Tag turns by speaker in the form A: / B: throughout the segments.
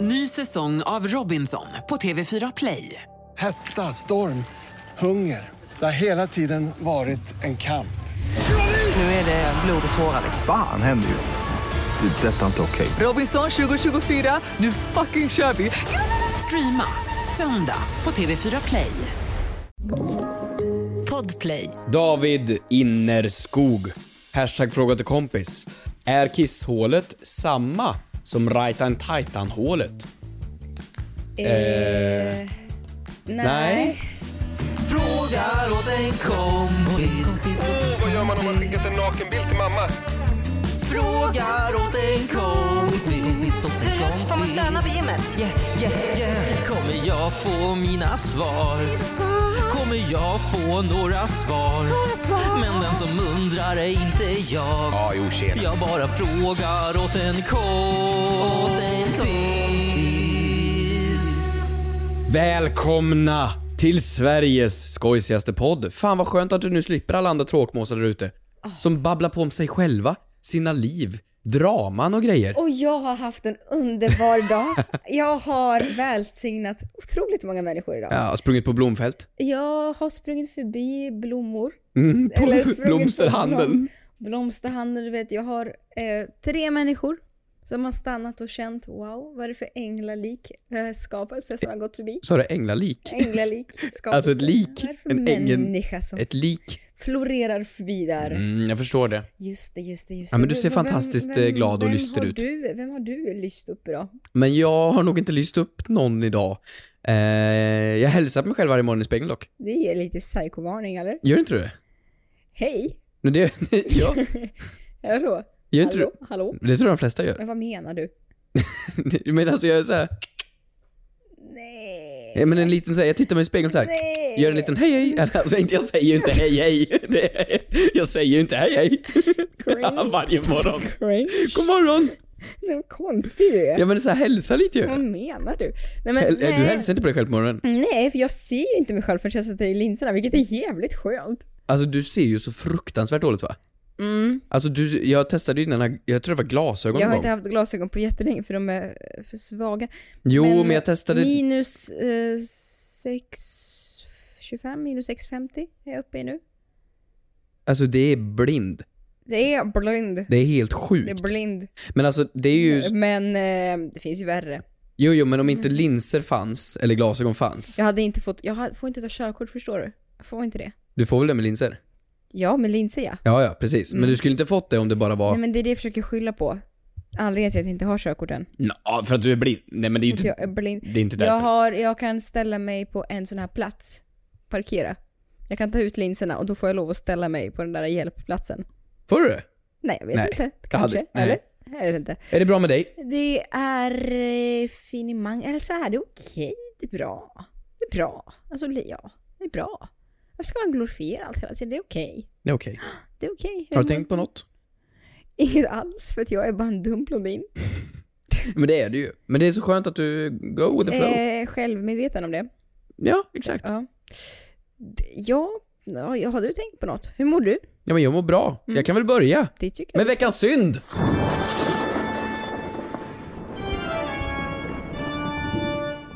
A: Ny säsong av Robinson på TV4 Play.
B: Hetta, storm, hunger. Det har hela tiden varit en kamp.
A: Nu är det blod och tårar. liksom.
C: Fan händer just nu. Det. är Detta är inte okej.
A: Robinson 2024, nu fucking kör vi! Streama söndag på TV4 Play. Podplay.
D: David Innerskog. Hashtag fråga till kompis. Är kisshålet samma som right and titan hålet?
E: Eh, Nej.
D: Eh, Nej.
F: Vad gör man om man skickat en nakenbild till mamma? Frågar åt en kompis åt en kompis Får man stöna på gymmet? Yeah, yeah, yeah. Kommer jag få mina svar? Kommer jag få några svar? Men den som undrar är inte jag Jag bara frågar åt en kompis
D: Välkomna till Sveriges skojsigaste podd. Fan vad skönt att du nu slipper alla andra tråkmåsar där ute.
E: Ah.
D: Som babblar på om sig själva, sina liv, draman och grejer.
E: Och jag har haft en underbar dag. Jag har välsignat otroligt många människor idag.
D: Ja, har sprungit på blomfält.
E: Jag har sprungit förbi blommor.
D: Mm, på
E: Eller sprungit på
D: blomsterhandeln.
E: blom- Blomsterhandeln, du vet. Jag har eh, tre människor som har stannat och känt wow, vad är det för änglalik eh, skapelse som har gått förbi?
D: Så är det änglalik.
E: Änglalik skapelse.
D: Alltså ett lik,
E: Vad är det för
D: en ängel-
E: människa som
D: Ett lik.
E: florerar förbi där?
D: Mm, jag förstår det.
E: Just det, just det, just det.
D: Ja, men du ser
E: Vem-
D: fantastiskt, eh, glad och
E: vem
D: lyster
E: har
D: ut.
E: Du, vem har du lyst upp idag?
D: Men jag har nog inte lyst upp någon idag. Eh, jag hälsar på mig själv varje morgon i spegeln dock.
E: Det ger lite psykovarning eller?
D: Gör inte du det?
E: Hej!
D: Men det, ja,
E: Hallå?
D: gör inte
E: Hallå?
D: du?
E: Hallå?
D: Det tror jag de flesta gör.
E: Men vad menar du?
D: Men alltså jag är såhär,
E: Nej.
D: men en liten såhär, jag tittar mig i spegeln såhär,
E: Nej.
D: gör en liten hej hej. Alltså inte, jag säger ju inte hej hej. Det, jag säger ju inte hej hej.
E: Cringe.
D: Varje morgon.
E: Cringe.
D: God morgon.
E: Nej, Vad konstig du är.
D: Ja men såhär hälsa lite ju.
E: Vad menar du? Nej, men,
D: Häl, du
E: nej.
D: hälsar inte på dig själv på morgonen.
E: Nej, för jag ser ju inte mig själv förrän jag sätter i linserna, vilket är jävligt skönt.
D: Alltså du ser ju så fruktansvärt dåligt va?
E: Mm.
D: Alltså du, jag testade ju dina, jag tror det var glasögon
E: Jag har
D: någon
E: inte
D: gång.
E: haft glasögon på jättelänge för de är eh, för svaga.
D: Jo men,
E: Men
D: jag testade
E: Minus eh, 6,25, minus 6,50 är jag uppe i nu.
D: Alltså det är blind.
E: Det är blind.
D: Det är helt
E: Det
D: sjukt.
E: är blind.
D: men alltså det är ju...
E: Men eh, det finns ju värre.
D: Jo, jo, men om inte linser fanns, eller glasögon fanns.
E: Jag hade inte fått, jag ha- får inte ta körkort förstår du. Jag får inte det.
D: Du får väl det med linser?
E: Ja, men linser ja.
D: Ja, ja, precis. Men du skulle inte fått det om det bara var...
E: Mm. Nej men det är det jag försöker skylla på. Anledningen till att jag inte har körkort än.
D: Ja, för att du är blind. Nej, men det är ju
E: Att
D: inte...
E: jag är blind.
D: Det är inte därför.
E: Jag, har, jag kan ställa mig på en sån här plats. Parkera. Jag kan ta ut linserna och då får jag lov att ställa mig på den där hjälpplatsen.
D: Får du det?
E: Nej, jag vet
D: Nej.
E: inte.
D: Jag hade-
E: Kanske.
D: nej.
E: Eller? Jag vet inte.
D: Är det bra med dig?
E: Det är eh, finemang, eller så här, det är okej, det är bra. Det är bra. Alltså, li- ja, det är bra. Varför ska man glorifiera allt hela tiden? Det är okej.
D: Ja, okej.
E: Det är okej.
D: Har du tänkt på något?
E: Inget alls, för att jag är bara en dum blondin.
D: Men det är du ju. Men det är så skönt att du go with the flow.
E: Eh, självmedveten om det.
D: Ja, exakt.
E: Ja. D- Ja, ja, ja, har du tänkt på något? Hur mår du?
D: Ja, men jag mår bra.
E: Mm.
D: Jag kan väl börja.
E: Det tycker jag.
D: Med veckans synd!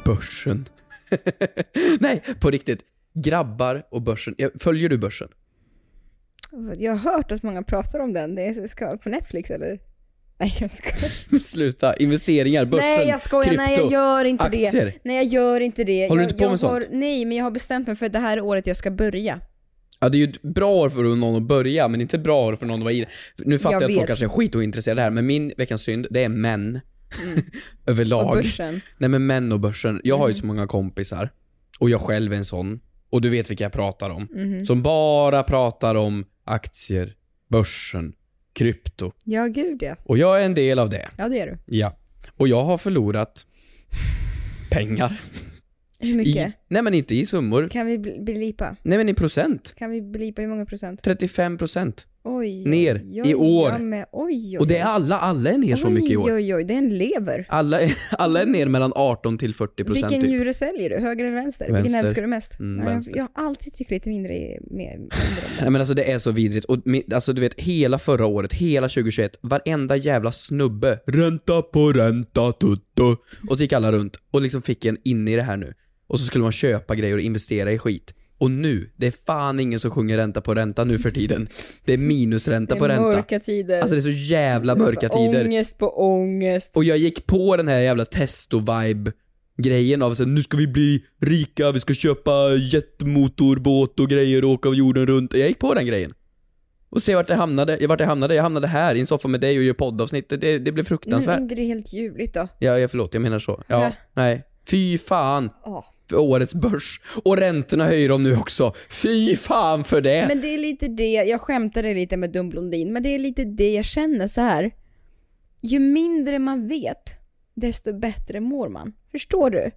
D: Börsen. Nej, på riktigt. Grabbar och börsen. Ja, Följer du börsen?
E: Jag har hört att många pratar om den. Det är, ska, på Netflix eller? Nej, jag skojar.
D: Men Sluta. Investeringar, börsen,
E: Nej, jag skojar.
D: krypto.
E: Nej, jag gör inte
D: aktier.
E: det. Nej, jag gör inte det.
D: Håller du
E: jag,
D: inte på
E: jag
D: med
E: har,
D: sånt?
E: Nej, men jag har bestämt mig för att det här är året jag ska börja.
D: Ja, det är ju ett bra år för någon att börja, men inte bra år för någon att vara i det. Nu fattar jag,
E: Jag
D: att folk
E: vet.
D: kanske är skit och intresserade här, men min veckans synd, det är män.
E: Mm. På
D: Överlag.
E: börsen.
D: Nej men män och börsen. Jag
E: Mm.
D: har ju så många kompisar, och jag själv är en sån, och du vet vilka jag pratar om.
E: Mm-hmm.
D: Som bara pratar om aktier, börsen, krypto.
E: Ja, gud ja.
D: Och jag är en del av det.
E: Ja, det är du.
D: Ja. Och jag har förlorat pengar.
E: Hur mycket?
D: I, nej men inte i summor.
E: Kan vi bl- blipa?
D: Nej men i procent.
E: Kan vi blipa hur många procent?
D: 35 procent.
E: Oj,
D: Ner
E: oj,
D: i år.
E: Ja, men, oj, oj,
D: Och det är alla, alla är ner så mycket i
E: Oj,
D: år.
E: oj, oj, det är en lever.
D: Alla är, alla är ner mellan 18 till 40 procent
E: Vilken
D: typ.
E: djur säljer du? Höger eller vänster? Vilken
D: Vänster.
E: älskar du mest?
D: Mm,
E: Ja, jag-
D: vänster.
E: Jag har alltid tyckt lite mindre i- mer- mindre om det.
D: Nej men alltså det är så vidrigt. Och mi- alltså du vet, hela förra året, hela 2021, varenda jävla snubbe Ränta på ränta tutto. Och så gick alla runt och liksom fick en in i det här nu. Och så skulle man köpa grejer och investera i skit. Och nu, det är fan ingen som sjunger ränta på ränta nu för tiden. Det är minusränta på ränta.
E: Mörka tider.
D: Alltså det är så jävla mörka tider.
E: Ångest på ångest.
D: Och jag gick på den här jävla testo-vibe grejen av så här, nu ska vi bli rika, vi ska köpa jetmotorbåt och grejer och åka jorden runt. Jag gick på den grejen. Och se vart jag hamnade. Jag, vart jag hamnade. Jag hamnade här i en soffa med dig och gör poddavsnitt. Det- Det, det blev
E: Men är
D: fruktansvärt.
E: inte det helt ljuvligt då?
D: Ja, jag förlåt, jag menar så. Ja,
E: Mm. Ja.
D: nej. Fy fan
E: Ja.
D: för årets börs. Och räntorna höjer de nu också. Fy fan för det!
E: Men det är lite det, jag skämtade lite med Dum Blondin, men det är lite det jag känner så här. Ju mindre man vet, desto bättre mår man. Förstår du?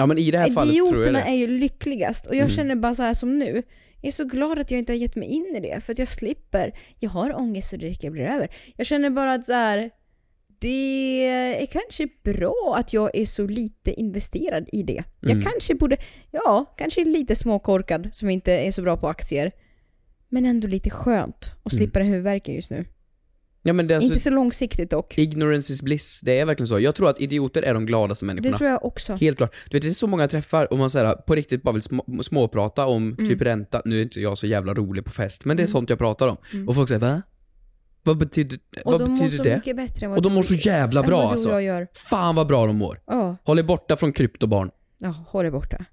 D: ja men i det här fallet tror jag
E: Idioterna
D: det. Mm.
E: är ju lyckligast och jag känner bara så här som nu. Jag är så glad att jag inte har gett mig in i det för att jag slipper. Jag har ångest och det lika blir över. Jag känner bara att så här. Det är kanske bra att jag är så lite investerad i det.
D: Mm.
E: Jag kanske borde, ja, kanske är lite småkorkad som inte är så bra på aktier. Men ändå lite skönt att slippa den huvudvärken just nu.
D: Ja, men det är Mm. alltså,
E: inte så långsiktigt dock.
D: ignorance is bliss. Det är verkligen så. Jag tror att idioter är de gladaste människorna.
E: Det tror jag också.
D: Helt klart. Du vet, det är så många jag träffar och man så här, på riktigt bara vill små, småprata om
E: Mm.
D: typ ränta. Nu är inte jag så jävla rolig på fest, men det är sånt jag pratar om. Och folk säger va? Vad betyder,
E: Mm. Och
D: vad
E: de mår så
D: betyder det?
E: mycket bättre än vad
D: Och de
E: du-
D: mår så jävla
E: än
D: bra
E: vad du och
D: alltså.
E: jag gör.
D: Fan vad bra de mår.
E: Ja.
D: Håll er borta från kryptobarn.
E: Ja, håll det borta.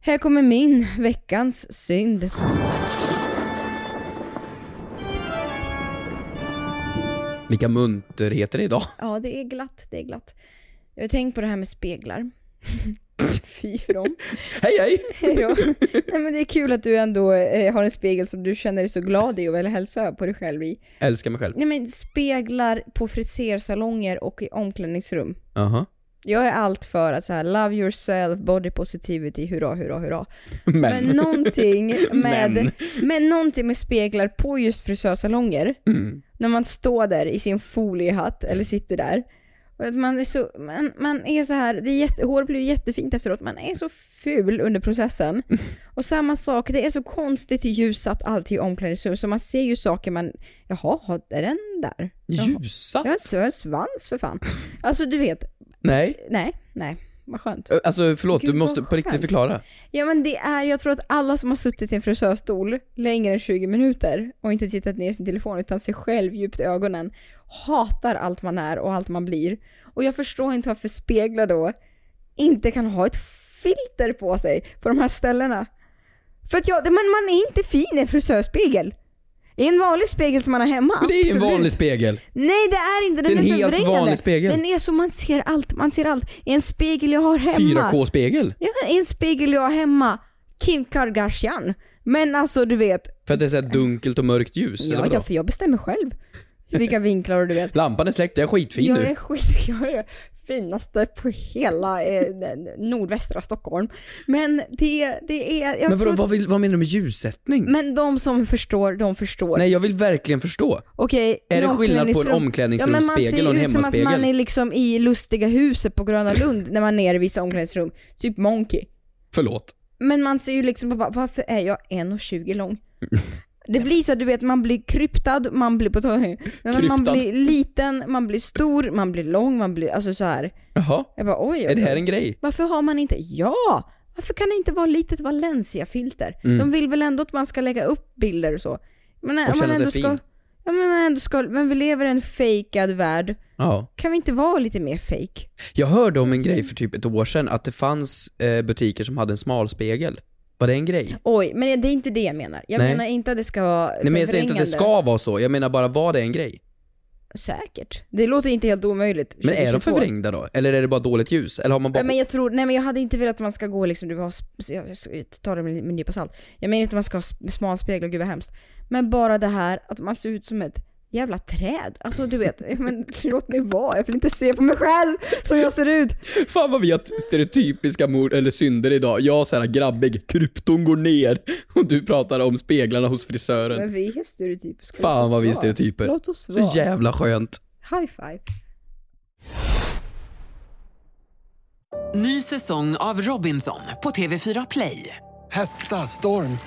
E: Här kommer min, veckans synd.
D: Vilka munterheter det är idag.
E: Ja, det är glatt, det är glatt. Jag har tänkt på det här med speglar. Fy för dem.
D: hej hej!
E: Hej då. Nej men det är kul att du ändå eh, har en spegel som du känner dig så glad i och vill hälsa på dig själv i.
D: Älskar mig själv.
E: Nej men speglar på frisersalonger och i omklädningsrum.
D: Aha.
E: Jag är allt för att så här love yourself, body positivity, hurra, hurra, hurra.
D: Men.
E: Men någonting med,
D: Men.
E: men. någonting med speglar på just frisörsalonger. När man står där i sin foliehatt eller sitter där. Och att man är så, man, man är så här, det är jätte, hår blir ju jättefint efteråt, man är så ful under processen. Och samma sak, det är så konstigt ljusat alltid i omklädningsrum, så man ser ju saker man, jaha, har- är den där? Jaha.
D: Ljusa?
E: Jag har en sö- svans för fan. Alltså du vet,
D: Nej.
E: nej, nej, vad skönt.
D: Ö, Alltså förlåt,
E: Gud,
D: du måste
E: vad
D: på riktigt
E: skönt.
D: förklara.
E: Ja men det är, jag tror att alla som har suttit i en frisörstol längre än 20 minuter och inte tittat ner i sin telefon utan sig själv djupt i ögonen hatar allt man är och allt man blir. Och jag förstår inte varför speglar då inte kan ha ett filter på sig på de här ställena. För att jag, men man är inte fin i en frisörspegel. I en vanlig spegel som man har hemma,
D: Men det är ju en
E: absolut.
D: vanlig spegel.
E: Nej det är inte, den
D: Det är en helt
E: förvrängande.
D: vanlig spegel.
E: Den är så man ser allt, man ser allt. I en spegel jag har hemma.
D: 4K-spegel.
E: Ja, en spegel jag har hemma. Kim Kardashian. Men alltså du vet.
D: För att det är så här dunkelt och mörkt ljus. eller
E: Ja,
D: vadå?
E: ja, för jag bestämmer själv. Vilka vinklar och du vet.
D: Lampan är släckt, jag är skitfin
E: Jag
D: nu.
E: är skit, jag är det finaste på hela eh, den- nordvästra Stockholm. Men det, det är... Jag
D: Men vadå,
E: tror att-
D: vad, vill, vad menar du med ljussättning?
E: men de som förstår, de förstår.
D: Nej, jag vill verkligen förstå.
E: Okej,
D: Är det
E: i
D: skillnad på en
E: omklädningsrum-
D: omklädningsrumsspegel och en
E: Ja, men man ser ju ut som att
D: hemmaspegel?
E: man är liksom i Lustiga huset på Gröna Lund när man är i vissa omklädningsrum. Typ Monkey.
D: Förlåt.
E: Men man ser ju liksom bara, varför är jag 1,20 lång? Det blir så att du vet, man blir kryptad, man blir på tå- men Man
D: Kryptad.
E: blir liten, man blir stor, man blir lång, man blir, alltså så här.
D: Jaha,
E: Jag bara oj, oj,
D: är det här
E: oj.
D: en grej?
E: Varför har man inte, ja! Varför kan det inte vara litet Valencia-filter?
D: Mm.
E: De vill väl ändå att man ska lägga upp bilder och så. Men om
D: känna sig
E: ändå ska,
D: fin.
E: Ja men, man ändå ska, men vi lever i en fejkad värld.
D: Ja.
E: Kan vi inte vara lite mer fake?
D: Jag hörde om en grej för typ ett år sedan, att det fanns eh, butiker som hade en smalspegel. Var det en grej?
E: Oj, men det är inte det jag menar. Jag
D: Nej.
E: menar inte att det ska vara
D: Nej men jag säger inte att det
E: förvrängande.
D: ska vara så, jag menar bara var det en grej?
E: Säkert. Det låter inte helt omöjligt.
D: Men är de
E: 2022.
D: förvrängda då? Eller är det bara dåligt ljus? Eller har man bara...
E: Nej men jag tror, nej men jag hade inte velat att man ska gå liksom, du har, sp- jag jag tar det med med en nypa salt. Jag menar inte att man ska ha sp- smalspegel, gud vad hemskt. Men bara det här att man ser ut som ett Jävla träd. Alltså du vet, men låt mig vara. Jag vill inte se på mig själv som jag ser ut.
D: Fan vad vi har stereotypiska mord, eller synder idag. Jag såhär grabbig, krypton går ner. Och du pratar om speglarna hos
E: Men
D: frisören.
E: vi är stereotypiska. Låt
D: Fan
E: oss
D: vad vi är
E: vara.
D: stereotyper.
E: Låt oss
D: Så
E: vara.
D: jävla skönt.
E: High five.
A: Ny säsong av Robinson på TV4 Play.
B: Hetta, storm,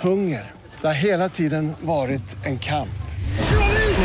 B: hunger. Det har hela tiden varit en kamp.
A: Nu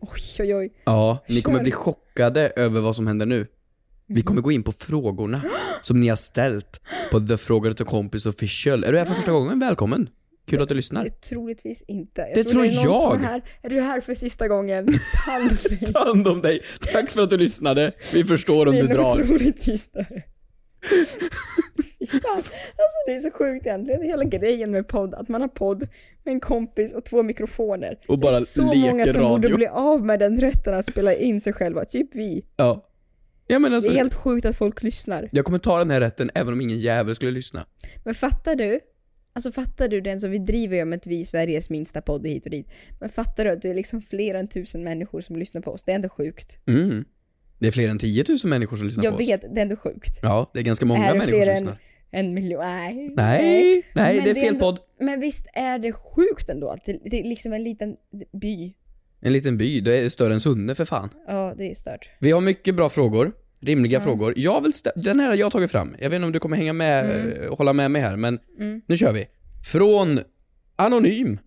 E: Oj, oj, oj.
D: Ja, ni kommer
E: Kör. Mm-hmm.
D: bli chockade över vad som händer nu. Vi kommer gå in på frågorna som ni har ställt på The Frågar till kompis official. Är du här för första gången? Välkommen! Kul att du lyssnar.
E: Troligtvis inte. Jag
D: Det tror
E: det är någon som
D: jag.
E: Är, här. är du här för sista gången? Ta hand om dig.
D: Ta hand om dig. Tack för att du lyssnade. Vi förstår om
E: Det
D: du
E: är nog
D: drar.
E: troligtvis det. Ja, alltså det är så sjukt egentligen, hela grejen med podd, att man har podd med en kompis och två mikrofoner.
D: Och bara
E: det är så många
D: leker
E: som borde
D: radio.
E: bli av med den rätten att spela in sig själva, typ vi.
D: Ja. Ja, men
E: Det
D: alltså,
E: är helt sjukt att folk lyssnar.
D: jag kommer ta den här rätten även om ingen jävel skulle lyssna.
E: Men fattar du? Alltså fattar du den som vi driver ju om att vi är Sveriges minsta podd hit och dit. Men fattar du att det är liksom fler än tusen människor som lyssnar på oss? Det är ändå sjukt.
D: Mm. Det är fler än 10 000 människor som lyssnar
E: Jag
D: på oss.
E: vet, det är ändå sjukt.
D: Ja, det är ganska
E: Är
D: många
E: det
D: människor
E: fler
D: som
E: än-
D: lyssnar.
E: En miljon, nej.
D: Nej, nej,
E: Men
D: det är fel
E: ändå-
D: podd.
E: Men visst är det sjukt ändå att det, det är liksom en liten by.
D: En liten by, det är större än Sunne för fan.
E: Ja, det är stört.
D: Vi har mycket bra frågor, rimliga frågor. Jag vill stä- den här har jag tagit fram. Jag vet inte om du kommer hänga med eh, och hålla med mig här, men nu kör vi. Från Anonym.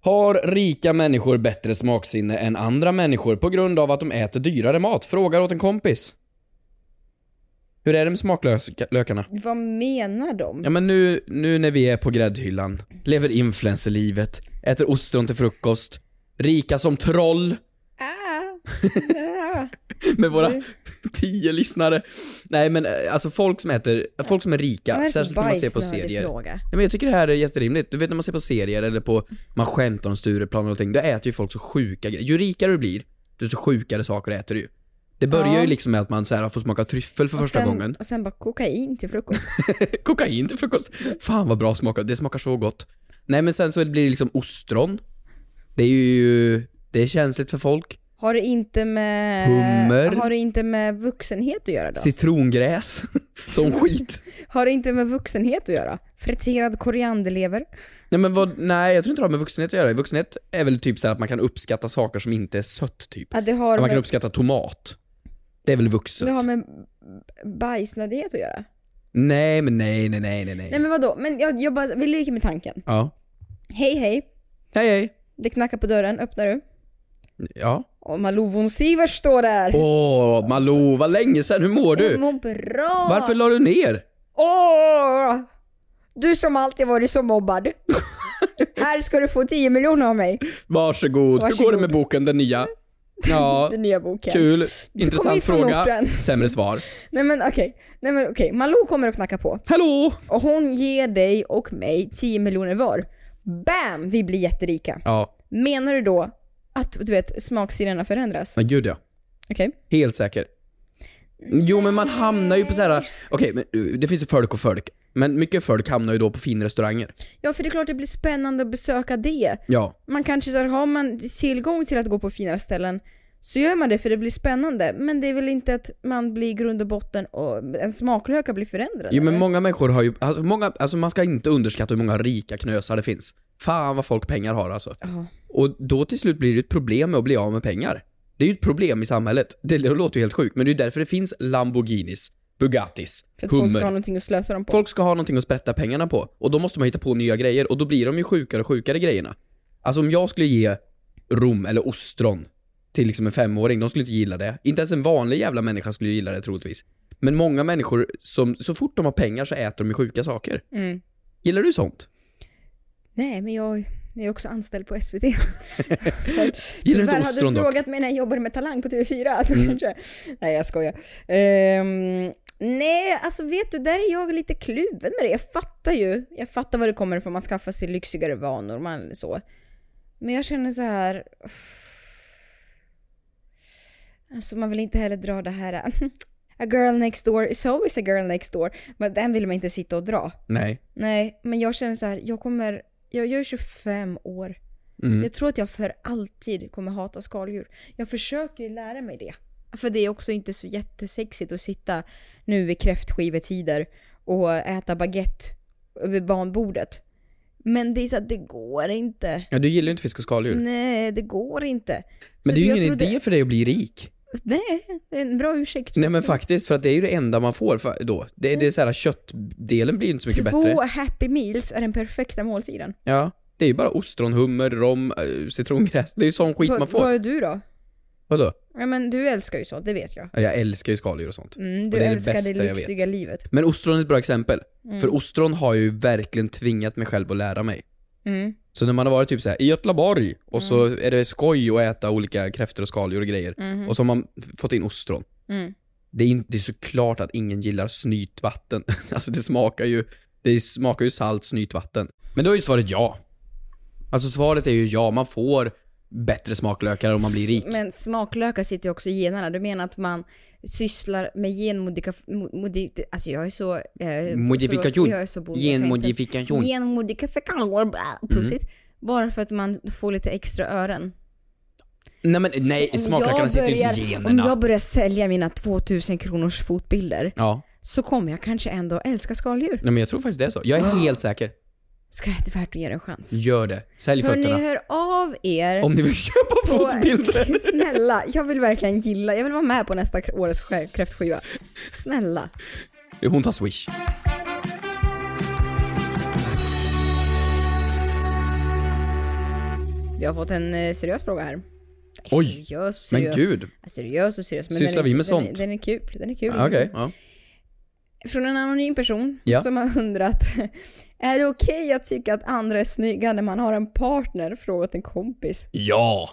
D: Har rika människor bättre smaksinne än andra människor på grund av att de äter dyrare mat? Frågar åt en kompis. Hur är det med smaklökarna?
E: Vad menar de?
D: Ja men nu, nu när vi är på gräddhyllan, lever influencerlivet, äter ostron till frukost, rika som troll
E: Ah, ah.
D: med våra tio lyssnare. Nej men eh, alltså folk som äter, folk som är
E: Det var
D: rika,
E: en
D: särskilt när man ser på
E: bajsnödig
D: serier. Ja,
E: Fråga.
D: men jag tycker det här är jätterimligt. Du vet när man ser på serier eller på, man skämtar om Stureplan och allting, då äter ju folk så sjuka grejer. Ju rikare du blir, desto sjukare saker äter du ju. Det börjar
E: Ja.
D: ju liksom med att man så här får smaka tryffel för
E: Och
D: första
E: sen,
D: gången.
E: Och sen bara kokain till frukost.
D: Kokain till frukost. Fan vad bra smakar det smakar så gott. Nej men sen så blir det liksom ostron. Det är ju, det är känsligt för folk.
E: Har det inte med...
D: Hummer.
E: Har det inte med vuxenhet att göra då?
D: Citrongräs. Som skit.
E: Har det inte med vuxenhet att göra? Friterad korianderlever?
D: Nej men vad, nej jag tror inte det har med vuxenhet att göra. Vuxenhet är väl typ så här att man kan uppskatta saker som inte är sött typ.
E: Ja, det har
D: Man kan
E: med,
D: uppskatta tomat. Det är väl vuxet?
E: det har med bajsnödighet att göra.
D: Nej men nej nej nej nej nej.
E: Nej men vadå? Men jag, jag bara, vi leker med tanken.
D: Ja.
E: Hej hej,
D: Hej hej.
E: det knackar på dörren, öppnar du?
D: Ja.
E: Och Malou von Sivers står där!
D: Åh Malou, vad länge sen, hur mår
E: du.
D: du?
E: Mår bra!
D: Varför la du ner?
E: Åh! Du som alltid varit så mobbad. Här ska du få 10 miljoner av mig.
D: Varsågod. Hur går det
E: Varsågod.
D: med boken, den nya? Ja,
E: Den nya boken.
D: Kul,
E: kommer ju
D: intressant
E: från
D: fråga,
E: orten.
D: sämre svar.
E: Nej men okej. Nej men okej. Malou kommer och knackar på.
D: Hallå!
E: Och hon ger dig och mig 10 miljoner var. Bam! Vi blir jätterika.
D: Ja,
E: Menar du då att du vet smaksinnena förändras?
D: men gud ja.
E: Okej.
D: Helt säker. Jo men man hamnar ju på så här. okej men uh, det finns ju folk och folk. Men mycket folk hamnar ju då på finrestauranger.
E: Ja för det är klart det blir spännande att besöka det.
D: Ja.
E: Man kanske så här, har man tillgång till att gå på finare ställen så gör man det för det blir spännande. Men det är väl inte att man blir i grund och botten och en smaklökar blir förändrad?
D: Jo men
E: eller?
D: många människor har ju, alltså, många, alltså man ska inte underskatta hur många rika knösar det finns. Fan vad folk pengar har alltså.
E: Ja.
D: Och då till slut blir det ett problem med att bli av med pengar. Det är ju ett problem i samhället. Det låter ju helt sjukt, men det är ju därför det finns Lamborghinis. Bugattis,
E: För att folk ska ha
D: hummer.
E: någonting att slösa dem på.
D: Folk ska ha någonting att sprätta pengarna på och då måste man hitta på nya grejer och då blir de ju sjukare och sjukare grejerna. Alltså om jag skulle ge rom eller ostron till liksom en femåring, de skulle inte gilla det. Inte ens en vanlig jävla människa skulle gilla det troligtvis. Men många människor som, så fort de har pengar så äter de ju sjuka saker.
E: Mm.
D: Gillar du sånt?
E: Nej, men jag jag är också anställd på SVT.
D: Gillar du
E: Tyvärr
D: inte
E: hade
D: ostron Mm.
E: du
D: dock?
E: frågat mig när jag jobbade med Talang på TV4. Då kanske. Nej, jag skojar. Ehm, nej, alltså vet du, där är jag lite kluven med det. Jag fattar ju. Jag fattar var det kommer ifrån. Man skaffar sig lyxigare vanor. Man, så. Men jag känner så här... Alltså man vill inte heller dra det här... A girl next door is always a girl next door. Men den vill man inte sitta och dra.
D: Nej.
E: Nej, men jag känner så här, jag kommer, jag, jag är 25 år.
D: Mm.
E: Jag tror att jag för alltid kommer hata skaldjur. Jag försöker ju lära mig det. För det är också inte så jättesexigt att sitta nu i kräftskivetider och äta baguette vid barnbordet. Men det är så att det går inte.
D: Ja, du gillar ju inte fisk och skaldjur.
E: Nej, det går inte.
D: Mm. Men det är ju
E: Mm. jag
D: ingen
E: tror det-
D: idé för dig att bli rik.
E: Nej, det är en bra ursäkt.
D: Nej men faktiskt, för att det är ju det enda man får för, då. Det, det är så här, köttdelen blir ju inte så mycket
E: Två
D: bättre.
E: happy meals är den perfekta måltiden.
D: Ja. Det är ju bara ostron, hummer, rom, eh, citrongräs. Det är ju sån skit
E: Vad-
D: man får.
E: Vad är du då?
D: Vadå?
E: Ja, men du älskar ju sånt, det vet jag.
D: Ja, Jag älskar ju skaldjur och sånt.
E: Mm,
D: Och
E: du
D: det är det
E: älskar det,
D: bästa jag vet.
E: lyxiga livet.
D: Men ostron är ett bra exempel. För ostron har ju verkligen tvingat mig själv att lära mig.
E: Mm.
D: Så när man har varit typ så här i Göteborg och så är det skoj att äta olika kräftor och skaldjur och grejer. Och så har man f- fått in ostron.
E: Mm-hmm. Mm.
D: Det, är in, det är såklart att ingen gillar snytvatten. alltså det smakar ju, det smakar ju salt snytvatten. Men då är ju svaret ja. Alltså svaret är ju ja, man får bättre smaklökar om man blir rik.
E: Men smaklökar sitter ju också i generna. Du menar att man sysslar med genmodifikation... Alltså jag är så... Eh,
D: Modifikation.
E: förlåt, Jag är så bonde, jag kan inte-
D: Genmodifikation. Mm.
E: Genmodifikation. bla, Pussigt. Bara för att man får lite extra öron.
D: Nej men nej,
E: Om
D: smaklökarna
E: jag
D: sitter ju inte i
E: börjar-
D: generna.
E: Om jag börjar sälja mina 2000 kronors fotbilder
D: Ja,
E: så kommer jag kanske ändå älska skaldjur.
D: nej, men jag tror faktiskt det är så. Jag är helt säker.
E: Ska det är värt att ge det en chans?
D: Gör det. Sälj
E: Hörni,
D: fötterna.
E: hör av er.
D: Om ni vill köpa
E: på-
D: fotbilder.
E: Snälla, jag vill verkligen gilla, jag vill vara med på nästa k- årets sk- kräftskiva. Snälla.
D: Hon tar swish.
E: Vi har fått en eh, seriös fråga här. Alltså,
D: Oj,
E: seriös och
D: Men
E: seriös.
D: gud.
E: Ja, Seriös och seriös. Men
D: Sysslar
E: den är-
D: vi med
E: den är-
D: sånt?
E: Den är kul, den är kul.
D: Ja, Okej. ja.
E: Från en anonym person
D: Ja.
E: som har undrat Är det okej att tycka att andra är snygga när man har en partner? Frågat en kompis.
D: Ja.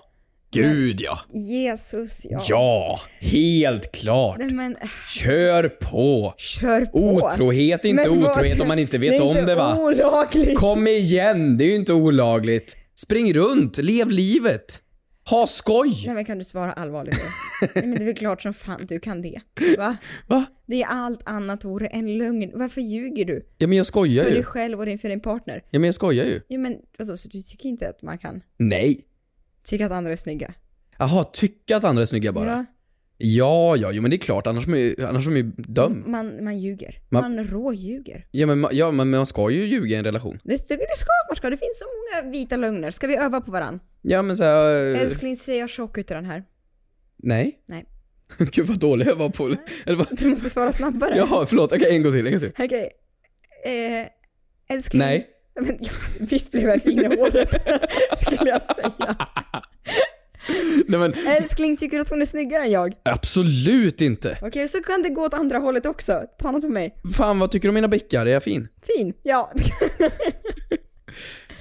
D: Gud ja.
E: Jesus, ja.
D: Ja. Helt klart.
E: Nej men, äh,
D: Kör på.
E: kör på.
D: Otrohet är inte
E: Men vad-
D: otrohet om man inte vet om det
E: Det är
D: va?
E: inte olagligt.
D: Kom igen, det är ju inte olagligt. Spring runt, lev livet. Ha skoj.
E: Nej men kan du svara allvarligt nu? Nej men det är väl klart som fan du kan det. Va?
D: Va?
E: Det är allt annat vore en lögn. Varför ljuger du?
D: Ja men jag skojar
E: För
D: ju.
E: dig själv och din, för din partner.
D: Ja men jag skojar ju.
E: Jo men vadå, så du tycker inte att man kan
D: Nej.
E: tycka att andra är snygga?
D: Jaha, tycka att andra är snygga bara.
E: Ja,
D: Ja, ja, jo men det är klart, annars är man ju, annars är man ju dum.
E: man, man ljuger. Man,
D: Man-
E: råljuger.
D: Ja men, ma- ja men man ska ju ljuga i en relation.
E: Det tycker det ska man ska. Det finns så många vita lögner. Ska vi öva på varann?
D: Ja men såhär... eh,
E: Älskling, ser jag tjock ut i den här?
D: Nej.
E: Nej.
D: Gud vad dålig jag var på... Eller vad?
E: Du måste svara snabbare.
D: Jaha, förlåt. Okej, en gång till, en gång till.
E: Okej. Eh, älskling.
D: Nej.
E: Men, ja, visst blev jag fin i håret, skulle jag säga.
D: Nej men
E: Älskling tycker att hon är snyggare än jag.
D: absolut inte.
E: Okej, så kan det gå åt andra hållet också. Ta något på mig.
D: Fan vad tycker du om mina bäckar? Är jag fin?
E: Fin. Ja.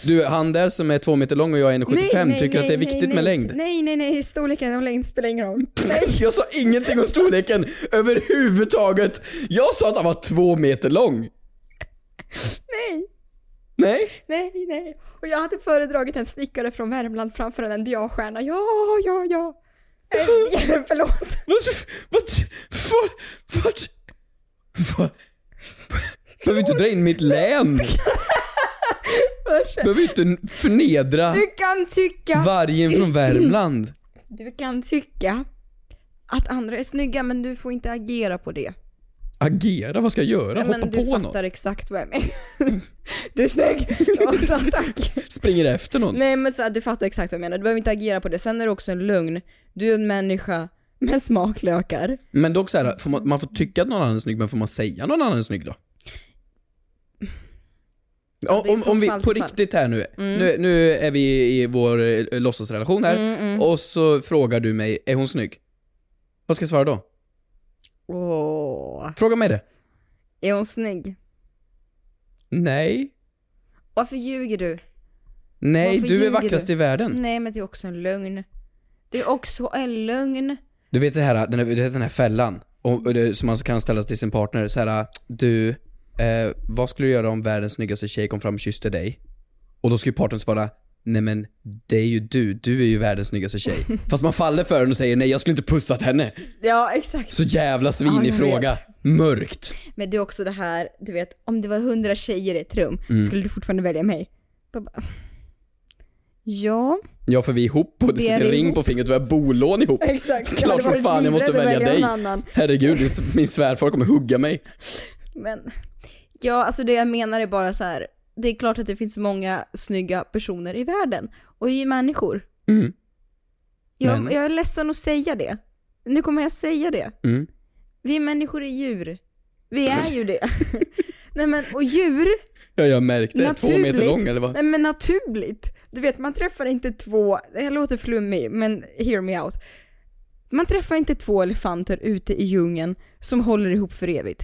D: Du, han där som är två meter lång och jag är 1,75 tycker att det är viktigt
E: nej,
D: med
E: nej.
D: längd.
E: Nej, nej, nej. Storleken och längd spelar ingen roll.
D: Jag sa ingenting om storleken överhuvudtaget. Jag sa att han var två meter lång.
E: Nej,
D: Nej?
E: nej, nej. Och jag hade föredragit en snickare från Värmland framför en NBA-stjärna. Ja, ja, ja. Eh, Förlåt.
D: Vad? Vad? Vad? Vad? Vad? Behöver inte dra in mitt län. Behöver inte förnedra
E: Du kan tycka,
D: vargen från Värmland.
E: du kan tycka att andra är snygga men du får inte agera på det.
D: Agera? Vad ska jag göra?
E: Nej,
D: Hoppa
E: men du
D: på
E: fattar
D: någon?
E: exakt vad jag menar. Du är snygg! Ja, tack.
D: Springer efter någon?
E: Nej men så här, du fattar exakt vad jag menar. Du behöver inte agera på det. Sen är det också en lögn. Du är en människa. med smaklökar.
D: Men dock så här, får man, man får tycka att någon annan är snygg, men får man säga någon annan är snygg då?
E: Ja, det är
D: Om,
E: från
D: om vi
E: fall
D: på
E: till fall. Mm.
D: riktigt här nu, nu, nu är vi i vår eh, låtsasrelation här,
E: mm.
D: och så frågar du mig, är hon snygg? Vad ska jag svara då?
E: Åh.
D: Fråga mig det.
E: Är hon snygg?
D: Nej.
E: Varför ljuger du?
D: Nej,
E: Varför
D: du är
E: ljuger
D: vackrast
E: du?
D: i världen.
E: Nej men det är också en lögn. Det är också en lögn.
D: Du vet det här, den här, du vet den här fällan och, och det, som man kan ställa till sin partner. Så här, du, eh, vad skulle du göra om världens snyggaste tjej kom fram och kysste dig? Och då skulle partnern svara, nej men det är ju du, du är ju världens snyggaste tjej. Fast man faller för den och säger nej jag skulle inte pussat henne.
E: Ja exakt.
D: Så jävla
E: Ja, jag
D: svinig
E: vet.
D: fråga. Mörkt.
E: Men det är också det här, du vet, om det var hundra tjejer i ett rum,
D: Mm.
E: skulle du fortfarande välja mig? Bara bara, Ja,
D: Ja för vi är ihop och det
E: Vi
D: sitter
E: är
D: en ring
E: ihop.
D: på fingret och vi har bolån ihop.
E: exakt. Det hade
D: Klart som
E: varit
D: fan jag måste
E: vidare att
D: välja dig.
E: någon Annan.
D: Herregud, din- min svärfar kommer hugga mig.
E: Men, ja alltså det jag menar är bara så här. det är klart att det finns många snygga personer i världen. Och vi är människor.
D: Mm.
E: Jag,
D: Men-
E: jag är ledsen att säga det. Nu kommer jag säga det.
D: Mm.
E: Vi människor är djur. Vi är ju det. Nej men, och djur,
D: Ja jag märkte, två meter
E: Naturligt.
D: lång eller vad?
E: nej men naturligt. Du vet, man träffar inte två, det här låter flummig, men hear me out. Man träffar inte två elefanter ute i djungeln som håller ihop för evigt.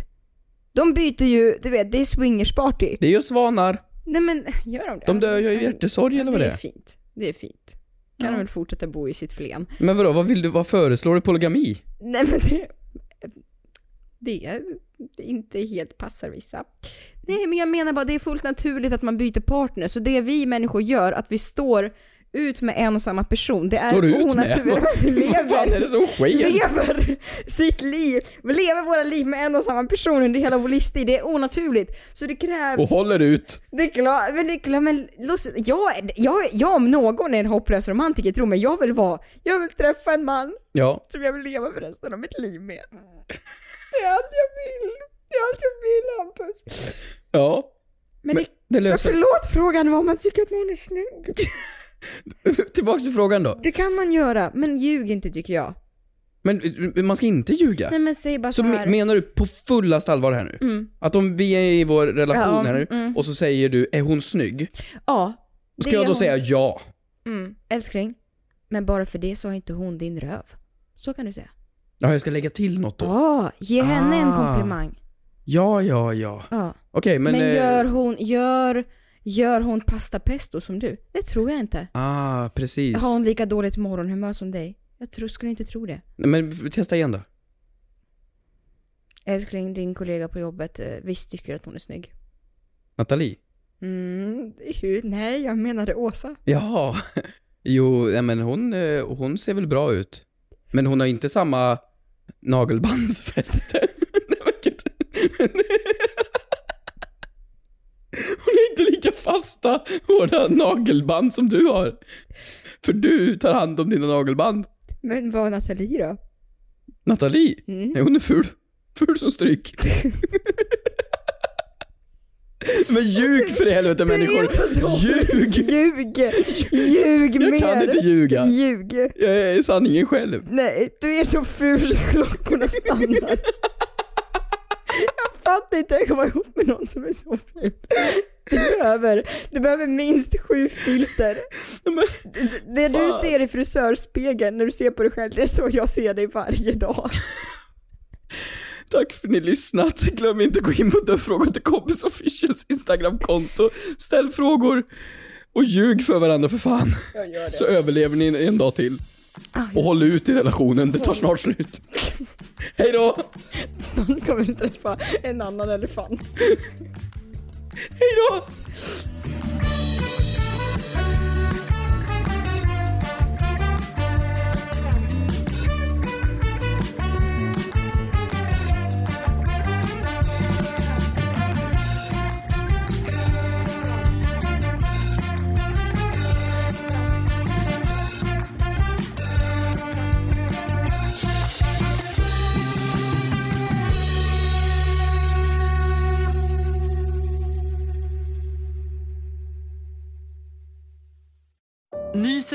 E: De byter ju, du vet, det är swingersparty.
D: Det är ju svanar.
E: Nej men, gör de det?
D: De dör ju i hjärtesorg eller vad det
E: Det är
D: är.
E: fint. Det är fint. Kan de väl fortsätta bo i sitt flen.
D: Men vadå, vad vill du, vad föreslår du polygami?
E: Nej men det... Det, det inte helt passar vissa. Nej men jag menar bara det är fullt naturligt att man byter partner. Så det vi människor gör, att vi står ut med en och samma person. Det
D: Står
E: är
D: du ut med?
E: onaturligt. Vi
D: Vad fan är
E: lever,
D: det som sker?
E: lever sitt liv. Vi lever våra liv med en och samma person under hela vår livstid. Det är onaturligt. Så det krävs...
D: Och håller ut.
E: Det är klart, men det är klart, men lås- jag, jag, jag om någon är en hopplös romantiker, tro mig. Jag vill vara, jag vill träffa en man
D: Ja.
E: som jag vill leva för resten av mitt liv med. Det är allt jag vill. Det är allt jag vill Hampus.
D: Ja.
E: Men,
D: Men Alltså-
E: det,
D: det
E: ja,
D: löser...
E: förlåt frågan var om man tycker att någon är snygg.
D: Tillbaks till frågan då.
E: Det kan man göra, men ljug inte tycker jag.
D: Men eh, man ska inte ljuga.
E: Nej men säg bara
D: Så me-
E: såhär.
D: menar du på fullast allvar här nu? Att om vi är i vår relation
E: Ja,
D: här nu
E: mm.
D: och så säger du är hon snygg?
E: Ja.
D: Ska
E: det
D: jag
E: är
D: då
E: hon.
D: säga ja?
E: Mm, älskling. Men bara för det så har inte hon din röv. Så kan du säga.
D: Ja, jag ska lägga till något då.
E: Ja, ge henne en
D: Ah.
E: komplimang.
D: Ja, ja, ja.
E: Ja.
D: Okej, men...
E: Men,
D: eh,
E: gör hon, gör, gör hon pasta pesto som du? Det tror jag inte.
D: Ah, precis.
E: Har hon lika dåligt morgonhumör som dig? Jag tror, skulle inte tro det.
D: Men f- testa igen då.
E: Älskling, din kollega på jobbet eh, visst tycker att hon är snygg.
D: Nathalie?
E: Mm, hur? Nej, jag menade Åsa.
D: Ja, jo, nej, men hon, eh, hon ser väl bra ut. Men hon har inte samma nagelbandsfäste. Nej, men gud. Hon har inte lika fasta, hårda nagelband som du har. För du tar hand om dina nagelband.
E: Men vad Nathalie då?
D: Nathalie,
E: Mm.
D: nej, hon är ful. Ful som stryk. Men ljug för i helvete människor! Ljug!
E: Ljug! Ljug mer!
D: Jag kan inte ljuga.
E: Ljug!
D: Jag är sanningen själv.
E: Nej, du är så ful så klockorna stannar. jag fattar inte jag kommer ihop med någon som är så ful. Du behöver, du behöver minst sju filter. Det- det du
D: fan.
E: ser i frisörspegeln när du ser på dig själv, det är så jag ser dig varje dag.
D: Tack för att ni lyssnat. Glöm inte att gå in på Dödfrågor till kompis officials Instagramkonto. Ställ frågor och ljug för varandra för fan. Så överlever ni en, en dag till. Och håll ut i relationen, det tar snart slut. Hej då!
E: Snart kommer du träffa en annan elefant.
D: Hej då!
A: Ny